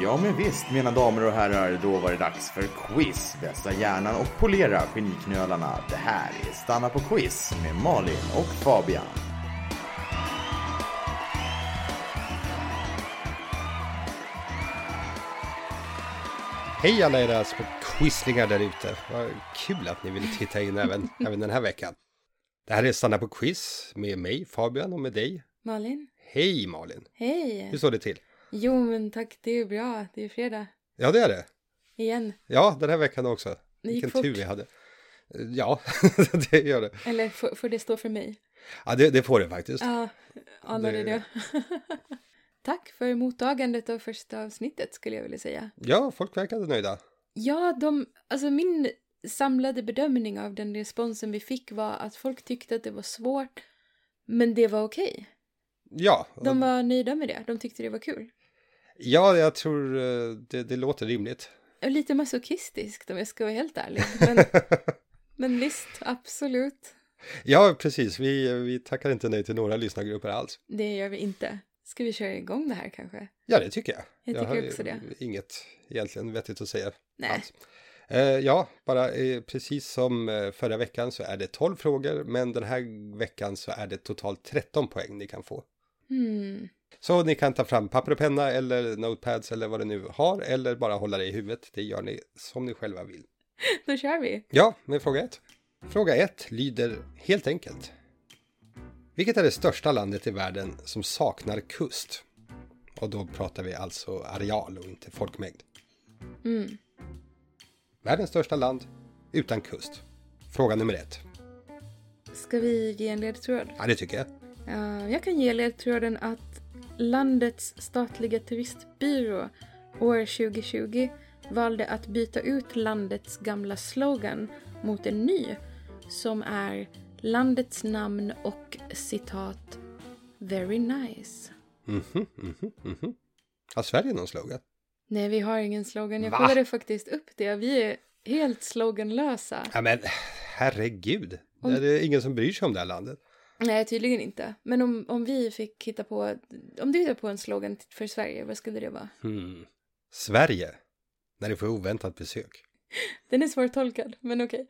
Ja, men visst, mina damer och herrar, då var det dags för quiz. Vässa hjärnan och polera geniknölarna. Det här är Stanna på quiz med Malin och Fabian. Hej alla era små quislingar där ute. Vad kul att ni ville titta in även, även den här veckan. Det här är Stanna på quiz med mig Fabian och med dig. Malin? Hej Malin! Hur Hej! står det till? Jo men tack, det är ju bra. Det är ju fredag. Ja, det är det. Igen. Ja, den här veckan också. gick Vilken fort. tur vi hade. Ja, det gör det. Eller får, får det stå för mig? Ja, det, det får det faktiskt. Ja, anade Det- det. tack för mottagandet av första avsnittet skulle jag vilja säga. Ja, folk verkade nöjda. Ja, de, alltså min samlade bedömning av den responsen vi fick var att folk tyckte att det var svårt, men det var okej. Ja, De var nöjda med det. De tyckte det var kul. ja jag tror eh, det, det låter rimligt. Lite masochistiskt om jag ska vara helt ärlig. Men, men visst, absolut. Ja, precis. Vi, vi tackar inte nej till några lyssnargrupper alls. Det gör vi inte. Ska vi köra igång det här kanske? Ja, det tycker jag. Jag har tycker ju också det. Inget egentligen vettigt att säga. Nej. alls. Eh, ja, bara eh, precis som eh, förra veckan så är det 12 frågor, men den här veckan så är det totalt 13 poäng ni kan få. Hmm. Så ni kan ta fram papper och penna eller notepads eller vad ni nu har, eller bara hålla det i huvudet. Det gör ni som ni själva vill. Då kör vi. Ja, med fråga ett. Fråga ett lyder helt enkelt. Vilket är det största landet i världen som saknar kust? Och då pratar vi alltså areal och inte folkmängd. Mm. Världens största land utan kust. Fråga nummer ett. Ska vi ge en ledtråd? Ja, det tycker jag. Eh, jag kan ge ledtråden att landets statliga turistbyrå år 2020 valde att byta ut landets gamla slogan mot en ny som är landets namn och citat “Very nice”. Mhm, mhm, mhm. Har Sverige någon slogan? Nej, vi har ingen slogan. Jag Va? kollade faktiskt upp det. Vi är helt sloganlösa. Ja, men herregud. Det är det ingen som bryr sig om det här landet. Nej, tydligen inte. Men om, om vi fick hitta på... Om du hittar på en slogan för Sverige, vad skulle det vara? Hmm. Sverige. När du får oväntat besök. Den är svårtolkad, men okej.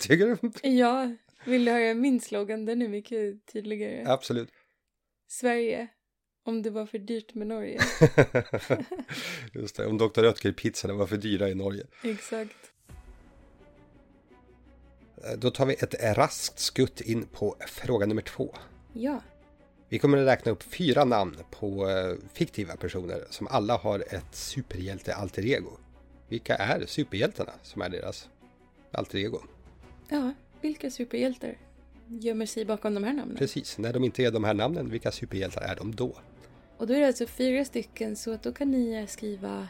Tycker du? Ja, vill du höra min slogan? Den är mycket tydligare. Absolut. Sverige, om det var för dyrt med Norge. Just det, om Dr. Röttger-pizzorna var för dyra i Norge. Exakt. Eh, Då tar vi ett raskt skutt in på fråga nummer två. Ja. Vi kommer att räkna upp fyra namn på eh, fiktiva personer som alla har ett superhjälte-alter ego. Vilka är superhjältarna som är deras alter ego? Ja, vilka superhjältar gömmer sig bakom de här namnen? Precis, när de inte är de här namnen, vilka superhjältar är de då? Och då är det alltså fyra stycken, så att då kan ni eh, skriva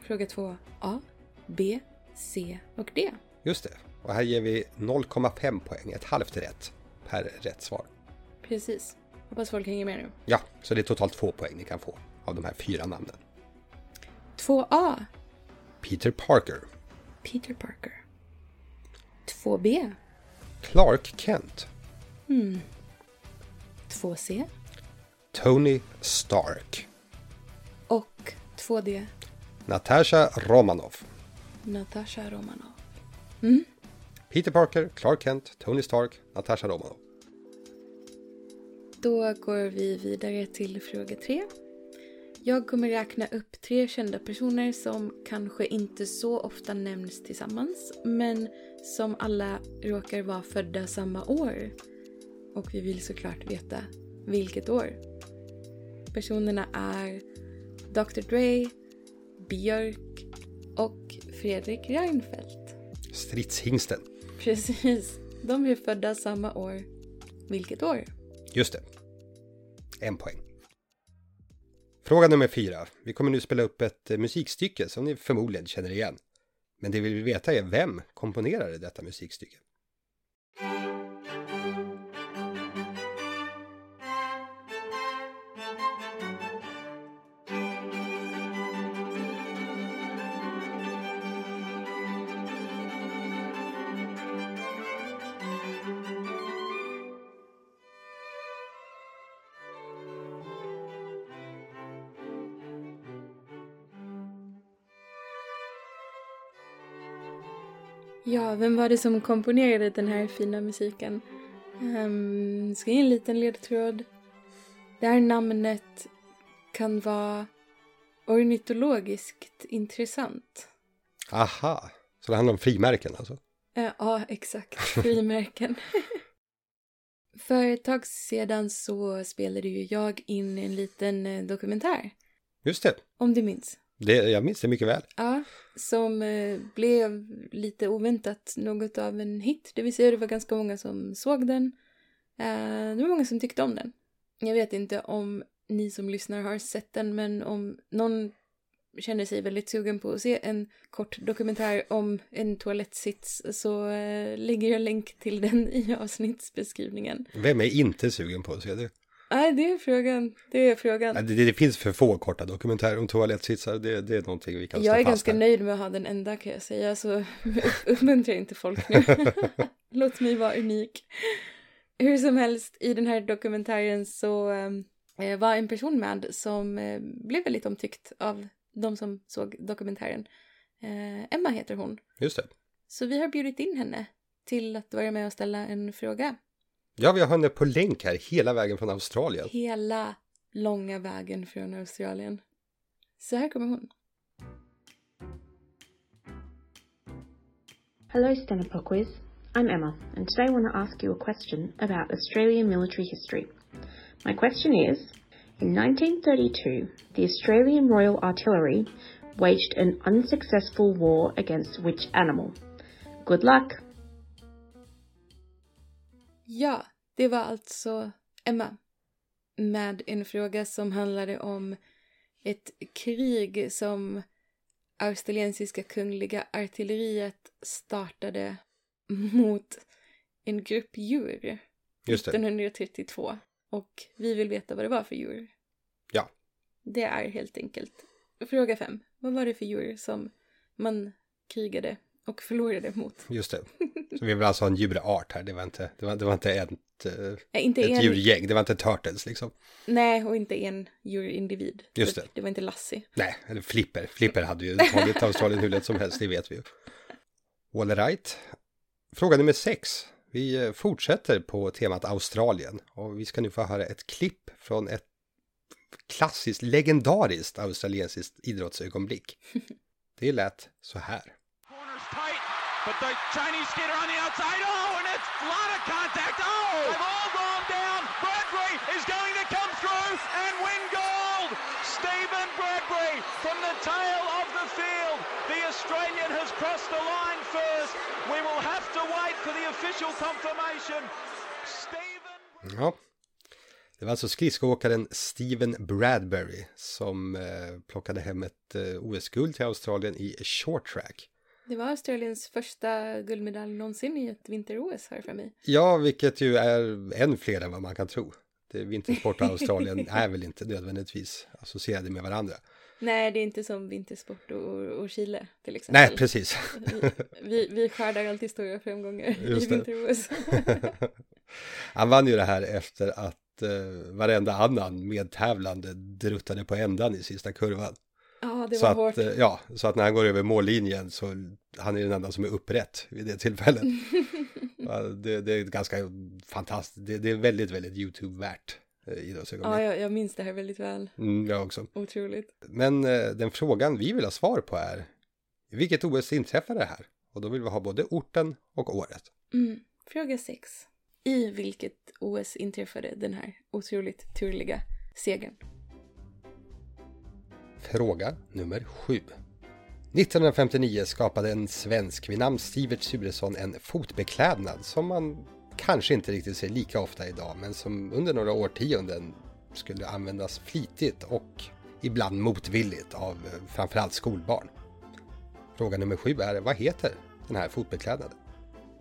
fråga två A, B, C och D. Just det, och här ger vi 0,5 poäng, ett halvt rätt per rätt svar. Precis. Hoppas folk hänger med nu. Ja, så det är totalt två poäng ni kan få av de här fyra namnen. 2A, Peter Parker, Peter Parker. 2B, Clark Kent, 2C Tony Stark, och 2D, Natasha Romanoff, Natasha Romanoff. Peter Parker, Clark Kent, Tony Stark, Natasha Romanoff. Då går vi vidare till fråga tre. Jag kommer räkna upp tre kända personer som kanske inte så ofta nämns tillsammans men som alla råkar vara födda samma år. Och vi vill såklart veta vilket år. Personerna är Dr Dre, Björk och Fredrik Reinfeldt. Stridshingsten, Precis, de är födda samma år. Vilket år? just det. En poäng. Fråga nummer fyra. Vi kommer nu spela upp ett eh, musikstycke som ni förmodligen känner igen. Men det vi vill veta är vem komponerade detta musikstycke? Ja, vem var det som komponerade den här fina musiken? Um, ska jag ge en liten ledtråd? Det här namnet kan vara ornitologiskt intressant. Aha, så det handlar om frimärken alltså? Eh, Ja, exakt. Frimärken. För ett tag sedan så spelade ju jag in en liten eh, dokumentär, Just det, om du minns. det jag minns det mycket väl. Ja, som eh, blev lite oväntat något av en hit. Det vill säga det var ganska många som såg den. Eh, det var många som tyckte om den. Jag vet inte om ni som lyssnar har sett den men om någon känner sig väldigt sugen på att se en kort dokumentär om en toalettsits så eh, lägger jag länk till den i avsnittsbeskrivningen. Vem är inte sugen på att se det? Nej, det är frågan. Det är Ja, frågan. Det, det finns för få korta dokumentärer om toalettsitsar, det, det är någonting vi kan Jag slå är fast ganska här. nöjd med att ha den enda kan jag säga, så uppmuntra inte folk nu. Låt mig vara unik. Hur som helst, i den här dokumentären så eh, var en person med som eh, blev väldigt omtyckt av de som såg dokumentären. Eh, Emma heter hon. Just det. Så vi har bjudit in henne till att vara med och ställa en fråga. Ja, vi har henne på länk här hela vägen från Australien. Hela långa vägen från Australien. Så här kommer hon. Hello, Stenopore Quiz. I'm Emma, and today I want to ask you a question about Australian military history. My question is In 1932, the Australian Royal Artillery waged an unsuccessful war against which animal? Good luck! Ja, det var alltså Emma med en fråga som handlade om ett krig som australiensiska kungliga artilleriet startade mot en grupp djur Just det. 1932 och vi vill veta vad det var för djur. Ja. Det är helt enkelt. Fråga fem. Vad var det för djur som man krigade och förlorade mot? Just det. Så vi vill alltså ha en djurart här, det var inte, det var, det var inte ett, eh, Nej, inte ett en djurgäng, det var inte turtles liksom. Nej, och inte en djurindivid. Just Typ, det. Det var inte Lassie. Nej, eller flipper. Flipper hade ju tagit Australien hur lätt som helst, det vet vi ju. All right. Fråga nummer sex. Vi eh, fortsätter på temat Australien och vi ska nu få höra ett klipp från ett klassiskt, legendariskt australiensiskt idrottsögonblick. Det lät så här. Corner's tight, but the Chinese skater on the outside. Oh, and it's a lot of contact. Oh, they've all gone down. Bradbury is going to come through and win gold. Stephen Bradbury from the tail of the field. The Australian has crossed the line first. We will have to wait for the official confirmation. Stephen. Ja. Det var alltså skridskoåkaren Steven Bradbury som eh, plockade hem ett eh, OS-guld till Australien i short track. Det var Australiens första guldmedalj någonsin i ett vinter-OS här för mig. Ja, vilket ju är än fler än vad man kan tro. Det, vintersport och Australien är väl inte nödvändigtvis associerade med varandra. Nej, det är inte som vintersport och, och Chile till exempel. Nej, precis. vi, vi skördar alltid stora framgångar Just i det. vinter-OS. Han vann ju det här efter att eh, varenda annan medtävlande druttade på ändan i sista kurvan. ja, det så var att, hårt. eh, Ja, så att när han går över mållinjen så han är den enda som är upprätt vid det tillfället. Ja, det, det är ett ganska fantastiskt, det, det är väldigt, väldigt YouTube-värt eh, Ja, idrottsögonblick. jag, jag minns det här väldigt väl. Mm, jag också. Otroligt. Men eh, den frågan vi vill ha svar på är i vilket OS inträffade det här? Och då vill vi ha både orten och året. Mm. Fråga sex. I vilket OS inträffade den här otroligt turliga segern? Fråga nummer sju. 1959 skapade en svensk vid namn Sivert Suresson en fotbeklädnad som man kanske inte riktigt ser lika ofta idag men som under några årtionden skulle användas flitigt och ibland motvilligt av eh, framförallt skolbarn. Fråga nummer sju är vad heter den här fotbeklädnaden?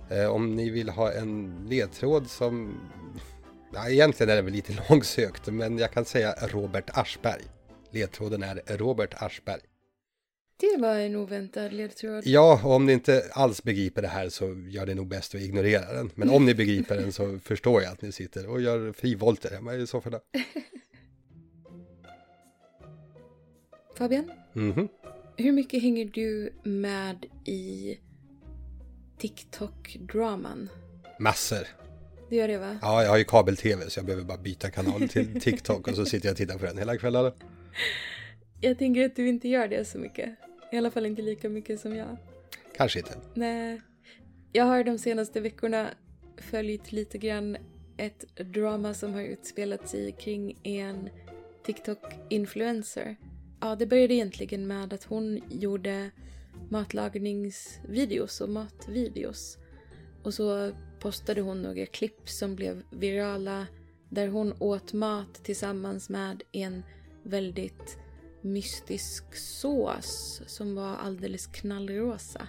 Eh, Om ni vill ha en ledtråd som... Ja, egentligen är det väl lite långsökt men jag kan säga Robert Aschberg. Ledtråden är Robert Aschberg. Det var en oväntad ledtråd. Ja, och om ni inte alls begriper det här så gör det nog bäst att ignorera den. Men om ni begriper den så förstår jag att ni sitter och gör frivolter hemma i sofforna. Fabian? Mhm. Hur mycket hänger du med i TikTok-draman. Massor. Det gör det va? Ja, jag har ju kabel-tv så jag behöver bara byta kanal till TikTok och så sitter jag och tittar på den hela kvällen. Jag tänker att du inte gör det så mycket. I alla fall inte lika mycket som jag. Kanske inte. Nej. Jag har de senaste veckorna följt lite grann ett drama som har utspelat sig kring en TikTok-influencer. Ja, det började egentligen med att hon gjorde matlagningsvideos och matvideos. Och så postade hon några klipp som blev virala där hon åt mat tillsammans med en väldigt mystisk sås som var alldeles knallrosa.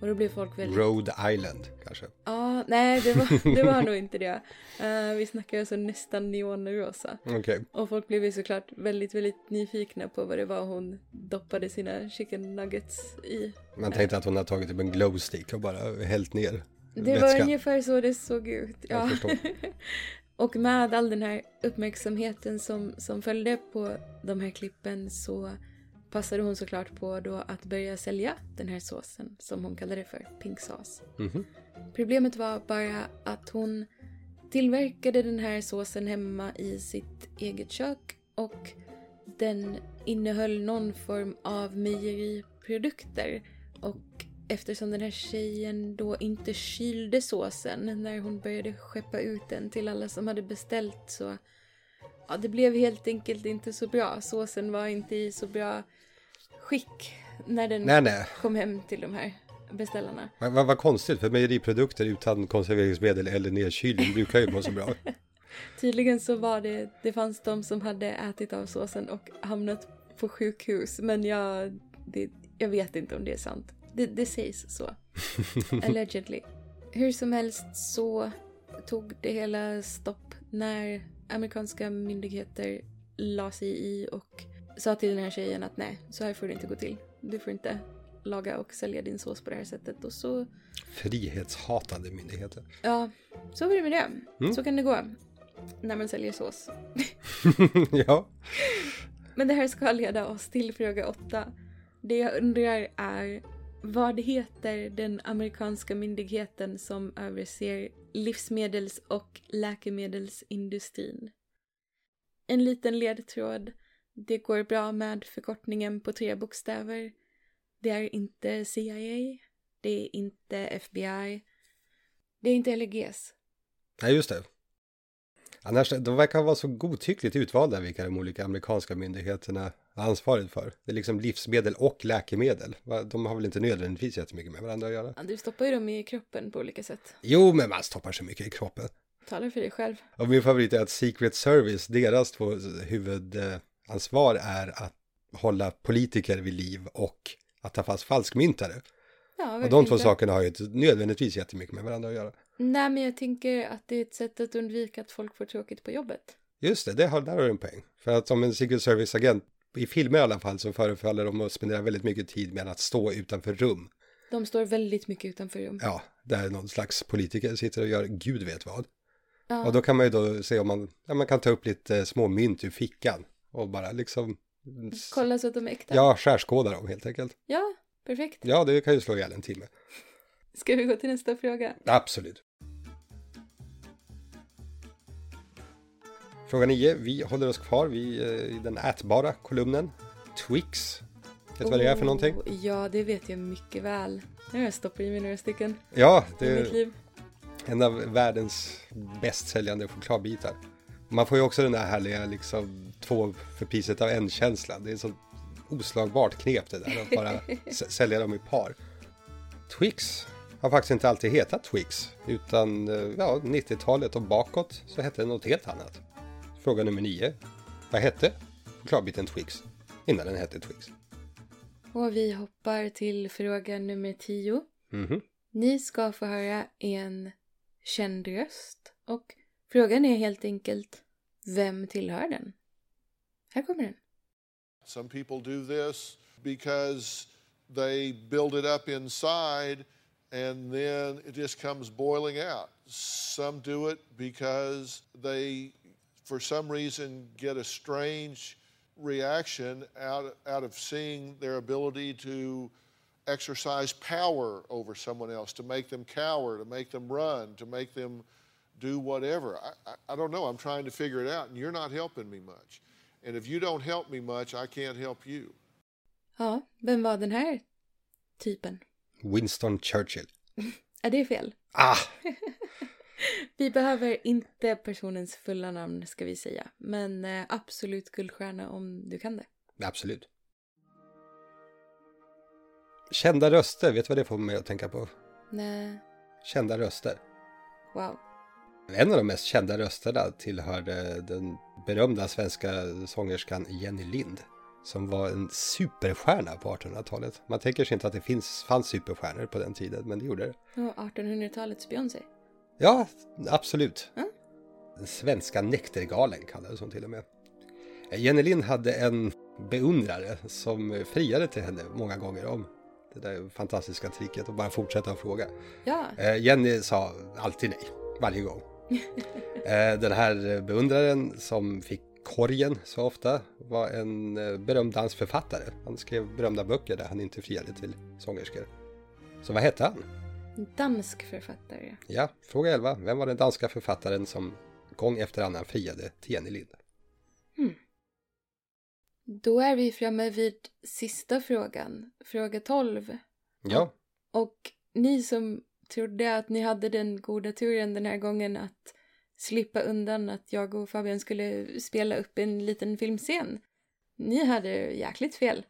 Och då blev folk väldigt... Rhode Island kanske. Ja, nej det var, det var nog inte det. Eh, vi snackar alltså nästan neonrosa. Okej. Och folk blev ju såklart väldigt, väldigt nyfikna på vad det var hon doppade sina chicken nuggets i. Man tänkte att hon hade tagit upp en glowstick och bara hällt ner Det var ungefär så det såg ut. Jag Ja. förstår. Och med all den här uppmärksamheten som, som följde på de här klippen så passade hon såklart på då att börja sälja den här såsen som hon kallade det för, pink sauce. Mhm. Problemet var bara att hon tillverkade den här såsen hemma i sitt eget kök och den innehöll någon form av mejeriprodukter. Och eftersom den här tjejen då inte kylde såsen när hon började skeppa ut den till alla som hade beställt så ja, det blev helt enkelt inte så bra. Såsen var inte i så bra skick när den Nej, nej. kom hem till de här beställarna. Vad vad- vad konstigt för mejeriprodukter utan konserveringsmedel eller nedkylning brukar ju må så bra. Tydligen så var det, det fanns de som hade ätit av såsen och hamnat på sjukhus. Men jag, det, jag vet inte om det är sant. Det, det sägs så. Allegedly. Hur som helst så tog det hela stopp när amerikanska myndigheter la sig i och sa till den här tjejen att nej, så här får det inte gå till. Du får inte laga och sälja din sås på det här sättet. Och så Frihetshatande myndigheter. Ja, så var det med det. Så kan det gå när man säljer sås. ja, Men det här ska leda oss till fråga åtta. Det jag undrar är vad heter den amerikanska myndigheten som överser livsmedels och läkemedelsindustrin? En liten ledtråd. Det går bra med förkortningen på tre bokstäver. Det är inte CIA. Det är inte FBI. Det är inte LGS. nej just det. Annars, de verkar vara så godtyckligt utvalda vilka de olika amerikanska myndigheterna har ansvaret för. Det är liksom livsmedel och läkemedel. Va, De har väl inte nödvändigtvis jättemycket med varandra att göra? Ja, du stoppar ju dem i kroppen på olika sätt. Jo, men man stoppar så mycket i kroppen. Talar för dig själv. Och min favorit är att Secret Service, deras två eh, huvudansvar är att hålla politiker vid liv och att ta fast falskmyntare. Ja, Och varför de två inte? sakerna har ju inte nödvändigtvis jättemycket med varandra att göra. Nej, men jag tänker att det är ett sätt att undvika att folk får tråkigt på jobbet. Just det, det har, där har du en poäng. För att som en Secret Service-agent, i filmer i alla fall, så förefaller de att spendera väldigt mycket tid med att stå utanför rum. De står väldigt mycket utanför rum. Ja, där någon slags politiker sitter och gör gud vet vad. Ja. Och då kan man ju då se om man, ja, man kan ta upp lite eh, små mynt ur fickan och bara liksom... Kolla så att de är äkta. Ja, skärskåda dem helt enkelt. Ja, perfekt. Ja, det kan ju slå ihjäl en timme. Ska vi gå till nästa fråga? Absolut. Fråga 9. Vi håller oss kvar vid eh, i den ätbara kolumnen. Twix. Vet du vad det är för någonting? Oh, Ja, det vet jag mycket väl. Nu har jag stoppat i mig några stycken Ja, det i mitt är liv. en av världens bäst säljande chokladbitar. Man får ju också den där härliga liksom två för priset av en känslan. Det är så oslagbart knep det där att bara s- sälja dem i par. Twix har faktiskt inte alltid hetat Twix utan eh, ja, 90-talet och bakåt så hette det något helt annat. Fråga nummer 9. Vad hette chokladbiten Twix innan den hette Twix? Och vi hoppar till fråga nummer tio. Mhm. Ni ska få höra en känd röst. Och frågan är helt enkelt, vem tillhör den? Här kommer den. Some people do this because they build it up inside and then it just comes boiling out. Some do it because they, for some reason, get a strange reaction out, out of seeing their ability to exercise power over someone else, to make them cower, to make them run, to make them do whatever. I, I, I don't know. I'm trying to figure it out, and you're not helping me much. And if you don't help me much, I can't help you. Ja, vem var den här typen? Winston Churchill. Är det fel? Ah! Vi behöver inte personens fulla namn ska vi säga, men eh, absolut guldstjärna om du kan det. Absolut. Kända röster, vet du vad det får mig att tänka på? Nej, Kända röster. wow. En av de mest kända rösterna tillhörde den berömda svenska sångerskan Jenny Lind. Som var en superstjärna på 1800-talet. Man tänker sig inte att det finns, fanns superstjärnor på den tiden, men det gjorde det. Och 1800-talets Beyoncé. Ja, absolut. Mm. Den svenska näktergalen kallades hon till och med. Jenny Lind hade en beundrare som friade till henne många gånger om. Det där fantastiska tricket att bara fortsätta att fråga. Ja, Eh, Jenny sa alltid nej, varje gång. Eh, Den här beundraren som fick korgen så ofta var en eh, berömd dansförfattare. Han skrev berömda böcker där han inte friade till sångerskor. Så vad hette han? dansk författare. Ja, fråga 11. Vem var den danska författaren som gång efter annan friade till Jenny Lind? Då är vi framme vid sista frågan, fråga 12. Ja, Och ni som trodde att ni hade den goda turen den här gången att slippa undan att jag och Fabian skulle spela upp en liten filmscen. Ni hade jäkligt fel.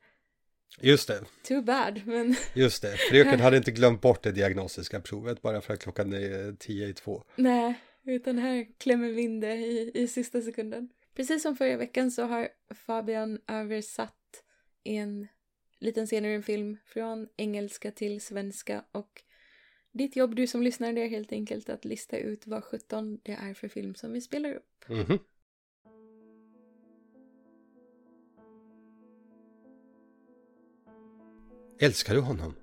just det. Too bad, men Just det. Fröken hade inte glömt bort det diagnostiska provet bara för att klockan är tio i två. nej, utan här klämmer vi in det i, i sista sekunden. Precis som förra veckan så har Fabian översatt en liten scen ur en film från engelska till svenska och ditt jobb du som lyssnar det är helt enkelt att lista ut vad 17 det är för film som vi spelar upp. Mhm. Älskar du honom?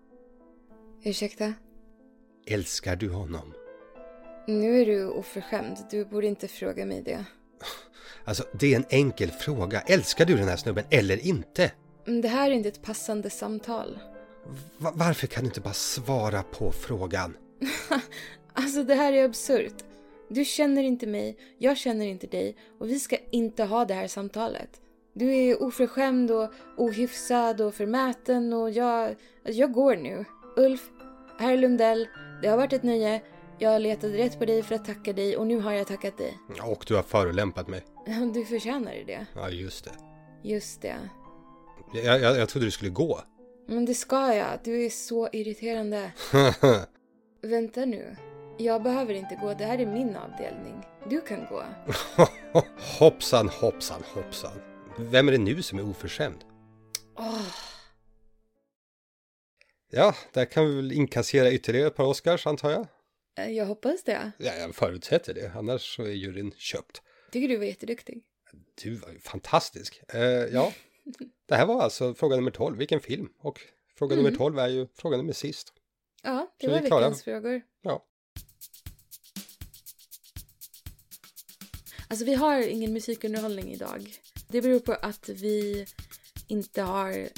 Ursäkta? Älskar du honom? Nu är du oförskämd. Du borde inte fråga mig det. Alltså, det är en enkel fråga. Älskar du den här snubben eller inte? Mm, Det här är inte ett passande samtal. Va- varför kan du inte bara svara på frågan? Alltså, det här är absurt. Du känner inte mig, jag känner inte dig och vi ska inte ha det här samtalet. Du är oförskämd och ohyfsad och förmäten och jag... Jag går nu. Ulf, här är Lundell. Det har varit ett nöje. Jag letade rätt på dig för att tacka dig och nu har jag tackat dig. Och du har förolämpat mig. Du förtjänade det. Ja, just det. Just det. Jag, jag, jag trodde du skulle gå. Men det ska jag. Du är så irriterande. Vänta nu. Jag behöver inte gå, det här är min avdelning. Du kan gå. hoppsan, hoppsan, hoppsan. Vem är det nu som är oförskämd? Åh, Ja, där kan vi väl inkassera ytterligare ett par Oscars antar jag. eh, jag hoppas det. Ja, jag förutsätter det, annars så är juryn köpt. Tycker du var jätteduktig. Du var ju fantastisk. Eh, ja, det här var alltså fråga nummer 12, vilken film? Och fråga nummer 12 är ju fråga nummer sist. Ja, det Så vi var är klara. veckans frågor. Ja, Alltså vi har ingen musikunderhållning idag. Det beror på att vi inte har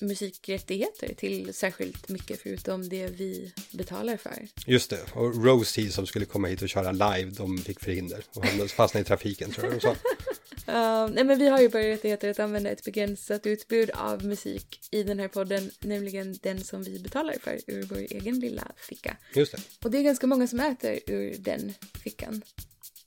musikrättigheter till särskilt mycket förutom det vi betalar för. just det. Och Rosie som skulle komma hit och köra live, de fick förhinder och hamnade- fastnade i trafiken tror jag de sa. Eh, nej men vi har ju bara rättigheter att använda ett begränsat utbud av musik i den här podden, nämligen den som vi betalar för ur vår egen lilla ficka. Just det. Och det är ganska många som äter ur den fickan.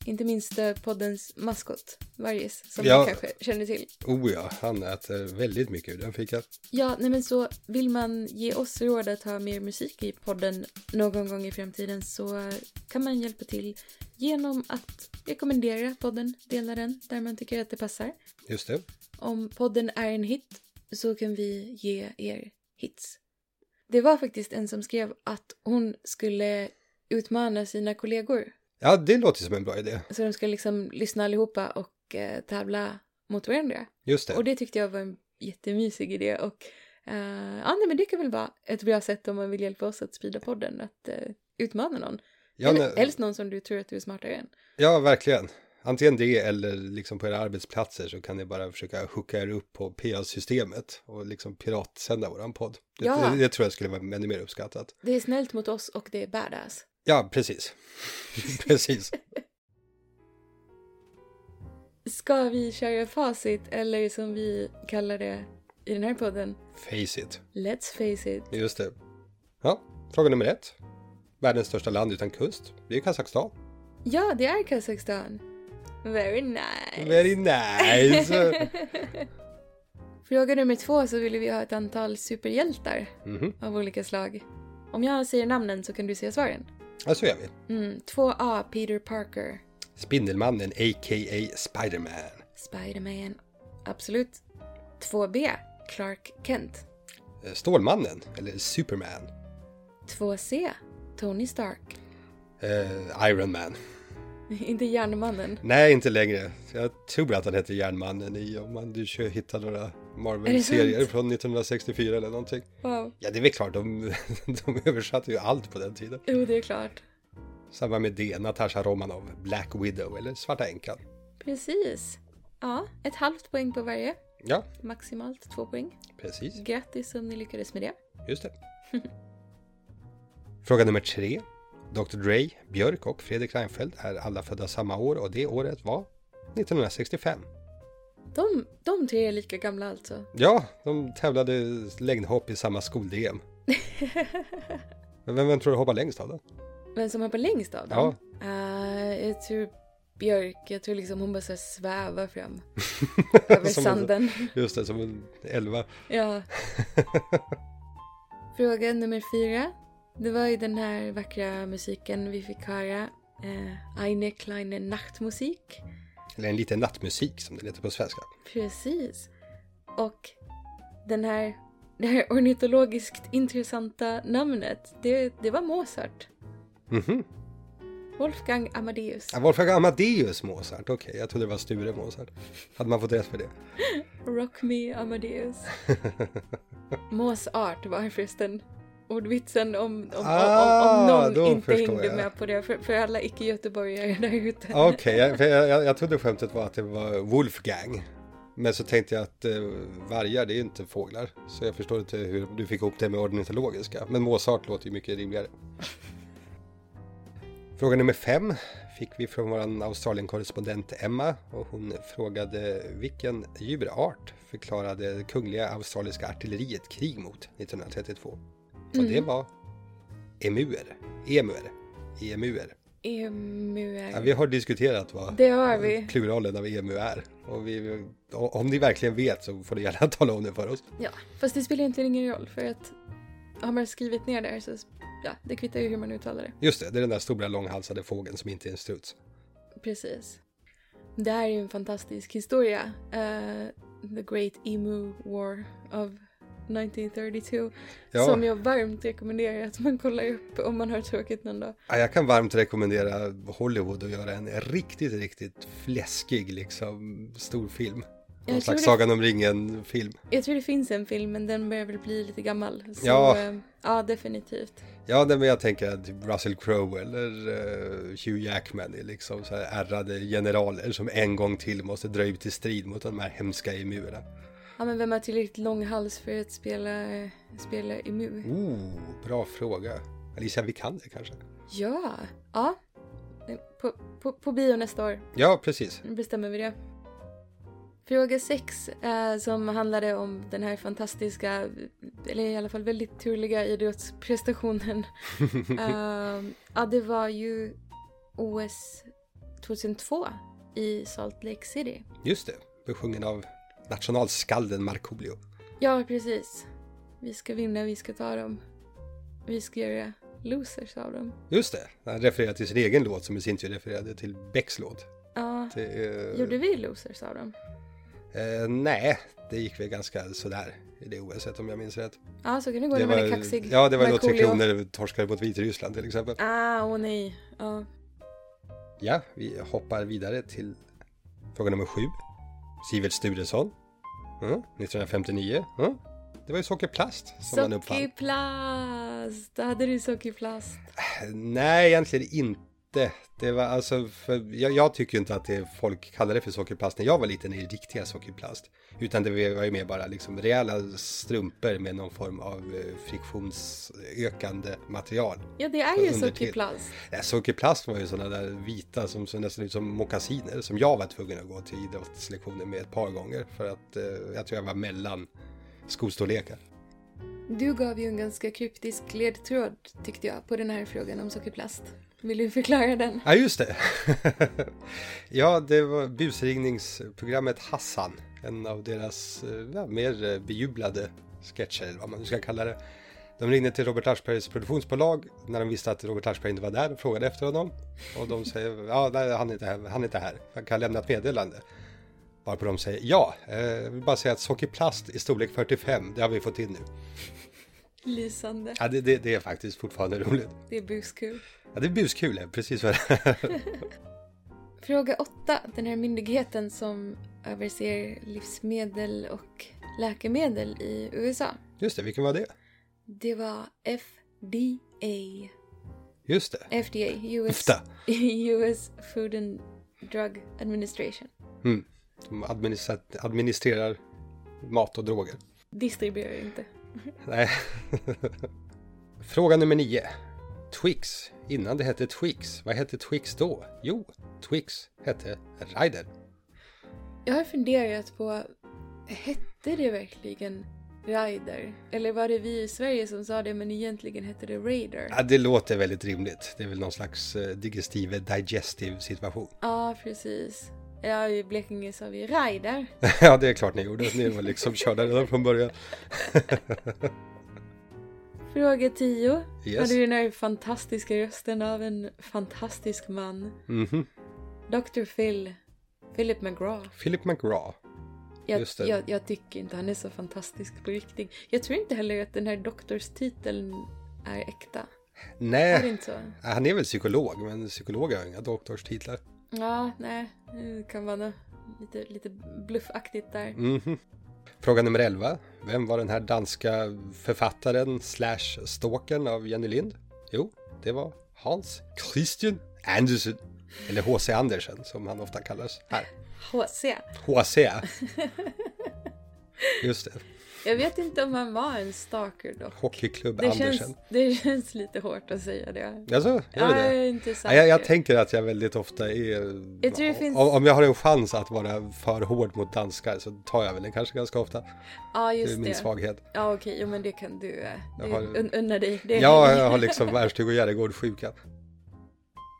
Inte minst eh, poddens maskot, Vargis, som Ja. ni kanske känner till. Oh ja, han äter väldigt mycket ur den fickan. Ja, nej men så vill man ge oss råd att ha mer musik i podden någon gång i framtiden så kan man hjälpa till genom att rekommendera podden, dela den där man tycker att det passar. Just det. Om podden är en hit så kan vi ge er hits. Det var faktiskt en som skrev att hon skulle utmana sina kollegor Ja, det låter som en bra idé. Så de ska liksom lyssna allihopa och eh, tävla mot varandra. Just det. Och det tyckte jag var en jättemysig idé och eh, ja, nej, men det kan väl vara ett bra sätt om man vill hjälpa oss att sprida podden, att eh, utmana någon. ja, Eller nej- helst någon som du tror att du är smartare än. ja, verkligen. Antingen det eller liksom på era arbetsplatser så kan ni bara försöka hooka er upp på PA-systemet och liksom piratsända våran podd. Det, Ja. det, det tror jag skulle vara ännu mer uppskattat. Det är snällt mot oss och det är badass. Ja, precis. precis. Ska vi köra facit eller som vi kallar det i den här podden, Face it. Let's face it. Just det. Ja, fråga nummer ett. Världens största land utan kust. Det är Kazakstan. Ja, det är Kazakstan. Very nice. Very nice! Fråga nummer två så ville vi ha ett antal superhjältar Mhm. av olika slag. Om jag säger namnen så kan du säga svaren. ja, så gör vi. Mm, 2A Peter Parker. Spindelmannen, a.k.a. Spiderman. Spiderman. Absolut. 2B Clark Kent. Eh, Stålmannen, eller Superman. 2C Tony Stark. Eh, Iron Man. Inte Järnmannen. Nej, inte längre. Jag tror att han heter Järnmannen i om man du kö- hittar några Marvel-serier sant? från 1964 eller någonting. Wow. Ja, det är väl klart, de, de översatte ju allt på den tiden. Jo, det är klart. Samma med det, Natasha Romanov, Black Widow eller Svarta Änkan. Precis. Ja, ett halvt poäng på varje. Ja, Maximalt två poäng. precis. Grattis om ni lyckades med det. Just det. Fråga nummer tre. Dr. Dre, Björk och Fredrik Reinfeldt är alla födda samma år och det året var 1965. De, de tre är lika gamla alltså. Ja, de tävlade längdhopp i samma skol-DM. Men vem, vem tror du hoppar längst av dem? Vem som hoppar längst av dem? Eh, jag tror Björk. Jag tror liksom hon bara så här svävar fram över Som- sanden. Just det, som en elva. ja. Fråga nummer fyra. Det var ju den här vackra musiken vi fick höra. Eh, Eine kleine Nachtmusik. Eller en liten nattmusik som det heter på svenska. Precis. Och den här, det här ornitologiskt intressanta namnet, det, det var Mozart. Mhm. Wolfgang Amadeus. Ja, Wolfgang Amadeus Mozart, okej, jag trodde det var Sture Mozart. Hade man fått rätt för det? Rock me Amadeus. Mozart var förresten ordvitsen om, om, om, om, om Ah, då någon inte förstår hängde jag. med på det. För, för alla icke-göteborgare där ute. Okej, jag, för jag, jag, jag trodde skämtet var att det var Wolfgang. Men så tänkte jag att eh, vargar, det är ju inte fåglar. Så jag förstår inte hur du fick ihop det med ornitologiska. Men Mozart låter ju mycket rimligare. Fråga nummer fem fick vi från vår Australien-korrespondent Emma. Och hon frågade vilken djurart förklarade kungliga australiska artilleriet krig mot 1932? Och Mm. det var emuer. Emuer. Emuer. Emuer. Ja, vi har diskuterat vad Det har vi. pluralen av EMU är. Och vi, och om ni verkligen vet så får ni gärna tala om det för oss. Ja, fast det spelar egentligen ingen roll för att har man skrivit ner det här så ja, det kvittar ju hur man uttalar det. Just det, det är den där stora långhalsade fågeln som inte är en struts. Precis. Det här är ju en fantastisk historia. Eh, the Great Emu War of 1932. Ja. Som jag varmt rekommenderar att man kollar upp om man har tråkigt någon dag. Ja, jag kan varmt rekommendera Hollywood att göra en riktigt, riktigt fläskig liksom stor film. Någon Jag tror, slags det, Sagan om ringen-film. jag tror det finns en film men den börjar väl bli lite gammal. Så, Ja. eh, ja, definitivt. Ja, nej, men jag tänker att typ Russell Crowe eller eh, Hugh Jackman är liksom så här ärrade generaler som en gång till måste dra ut i strid mot de här hemska E emuerna. Ja, men vem har tillräckligt lång hals för att spela, spela Emu? Oh, bra fråga. Alicia Vikander kanske? Ja, ja. Eh, På, på, på bio nästa år Ja, precis. Nu bestämmer vi det. Fråga 6 eh, som handlade om den här fantastiska, eller i alla fall väldigt turliga idrottsprestationen. eh, ja, det var ju OS 2002 i Salt Lake City. Just det, besjungen av nationalskalden Markoolio. Ja, precis. Vi ska vinna, vi ska ta dem. Vi ska göra losers av dem. Just det, han refererar till sin egen låt som i sin tur refererade till Becks låt. Ja, Det, eh, gjorde vi losers av dem? eh, nej, det gick väl ganska sådär i det OS om jag minns rätt. Ja, så kan det gå när man är kaxig. ja, det var ju då Tre Markoolio. Kronor torskade mot Vitryssland till exempel. Ah, åh nej. Ja. Ja, vi hoppar vidare till fråga nummer sju. Sivert Sturesson. Mm, 1959. Mm. Det var ju sockerplast som han uppfann. Sockerplast! Hade du sockerplast? Eh, Nej, egentligen inte. inte. Det var alltså, för jag, jag tycker ju inte att det, folk kallade det för sockerplast när jag var liten, är riktiga sockerplast. Utan det var ju mer bara liksom rejäla strumpor med någon form av eh, friktionsökande material. Ja, det är ju Under till. sockerplast. Ja, sockerplast var ju sådana där vita som såg nästan ut som mockasiner som jag var tvungen att gå till idrottslektioner med ett par gånger för att eh, jag tror jag var mellan skostorlekar. Du gav ju en ganska kryptisk ledtråd tyckte jag på den här frågan om sockerplast. Vill du förklara den? Ja, just det. ja, det var busringningsprogrammet Hassan. En av deras eh, ja, mer eh, bejublade sketcher, eller vad man nu ska kalla det. De ringde till Robert Aschbergs produktionsbolag när de visste att Robert Aschberg inte var där och frågade efter honom. Och de säger, ja, nej, han är inte här, han är inte här. Han kan lämna ett meddelande. Varpå de säger, ja, eh, jag vill bara säga att sockerplast i storlek 45, det har vi fått in nu. Lysande. Ja, det, det, det är faktiskt fortfarande roligt. Det är buskul. Ja, det är buskul, eh, precis vad det är. Fråga 8. Den här myndigheten som överser livsmedel och läkemedel i USA. Just det, vilken var det? Det var FDA. Just det. FDA, US, FDA. US Food and Drug Administration. Mm. De administra- administrerar mat och droger. Distribuerar inte. Nej. Fråga nummer nio. Twix. Innan det hette Twix. Vad hette Twix då? Jo, Twix hette Ryder. Jag har funderat på, hette det verkligen Rider? Eller var det vi i Sverige som sa det men egentligen hette det Raider? Ja, det låter väldigt rimligt. Det är väl någon slags eh, digestive digestive situation. Ja, precis. Ja, i Blekinge sa vi Raider. ja, det är klart ni gjorde. Ni var liksom körda redan från början. Fråga 10. Yes. Hade du den här fantastiska rösten av en fantastisk man? Mhm. Dr. Phil. Philip McGraw. Philip McGraw. Jag, Just det. Jag, jag tycker inte han är så fantastisk på riktigt. Jag tror inte heller att den här doktorstiteln är äkta. Är det Nej, inte så? han är väl psykolog, men psykologer har inga doktorstitlar. Ja, nej. Det kan vara nå- lite, lite bluffaktigt där. Mhm. Fråga nummer 11. Vem var den här danska författaren slash stalkern av Jenny Lind? Jo, det var Hans Christian Andersen. Eller H.C. Andersen som han ofta kallas här. HC. H.C. Just det. Jag vet inte om han var en stalker dock. Hockeyklubb Det Andersen. känns, det känns lite hårt att säga det. Alltså, gör Ja, det jag det? är inte Ja, jag, jag säker. tänker att jag väldigt ofta är... Jag tror det finns- om, om jag har en chans att vara för hård mot danskar så tar jag väl den kanske ganska ofta. Ja, Det är just min det. svaghet. Ja, okej. Jo, men det kan du eh, Jag det- har- un- unna dig. Det Ja, jag har liksom Erstig och Järegård-sjukan.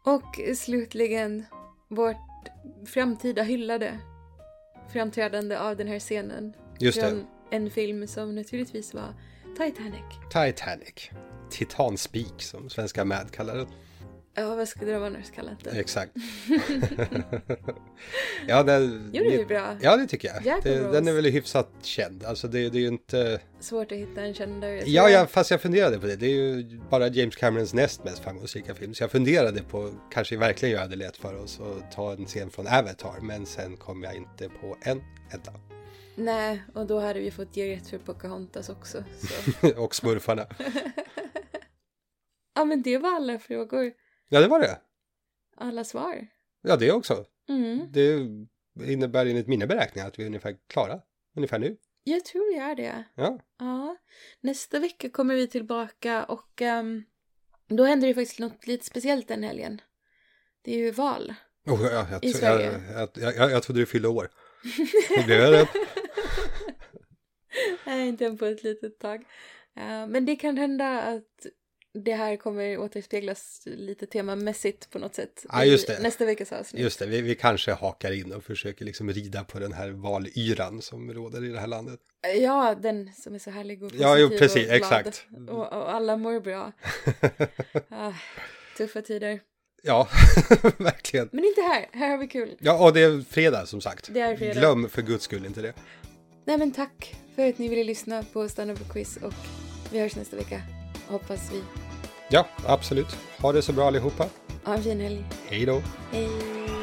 Och slutligen vårt framtida hyllade framträdande av den här scenen. Just det. från en film som naturligtvis var Titanic. Titanic. Titanspik som svenska Mad kallar den. Ja, vad skulle de annars kallat det? Exakt. ja, den, Gjorde vi bra? Ja, det tycker jag. Jack Det, Rose. den är väl hyfsat känd. Alltså det, det är ju inte... Svårt att hitta en kändare. Jag tror Ja, jag- jag, fast jag funderade på det. Det är ju bara James Camerons näst mest framgångsrika film. Så jag funderade på, kanske verkligen göra det lätt för oss att ta en scen från Avatar. Men sen kom jag inte på en enda. Nej, och då hade vi fått ge rätt för Pocahontas också. Så. och Smurfarna. ja, men det var alla frågor. Ja, det var det. Alla svar. Ja, det också. Mm. Det innebär enligt mina beräkningar att vi är ungefär klara. Ungefär nu. Jag tror jag är det. Ja. Ja, nästa vecka kommer vi tillbaka och ehm, då händer det faktiskt något lite speciellt den helgen. Det är ju val. Oh, ja, jag, I tro- Sverige. Jag, jag, jag, jag trodde du fyllde år. Det blev jag rädd. Nej, inte än på ett litet tag. Eh, men det kan hända att det här kommer återspeglas lite temamässigt på något sätt. Ja, i just det. Nästa veckas avsnitt. Just det, vi, vi kanske hakar in och försöker liksom rida på den här valyran som råder i det här landet. Ja, den som är så härlig och positiv Ja, jo, och precis, glad. exakt. Mm. Och, och alla mår bra. Ah, tuffa tider. Ja, verkligen. Men inte här, här har vi kul. Ja, och det är fredag som sagt. Det är fredag. Glöm för guds skull inte det. Nej men tack för att ni ville lyssna på Stanna på quiz och vi hörs nästa vecka. Hoppas vi. Ja, absolut. Ha det så bra allihopa. Ha en fin helg. Hej då. Hej!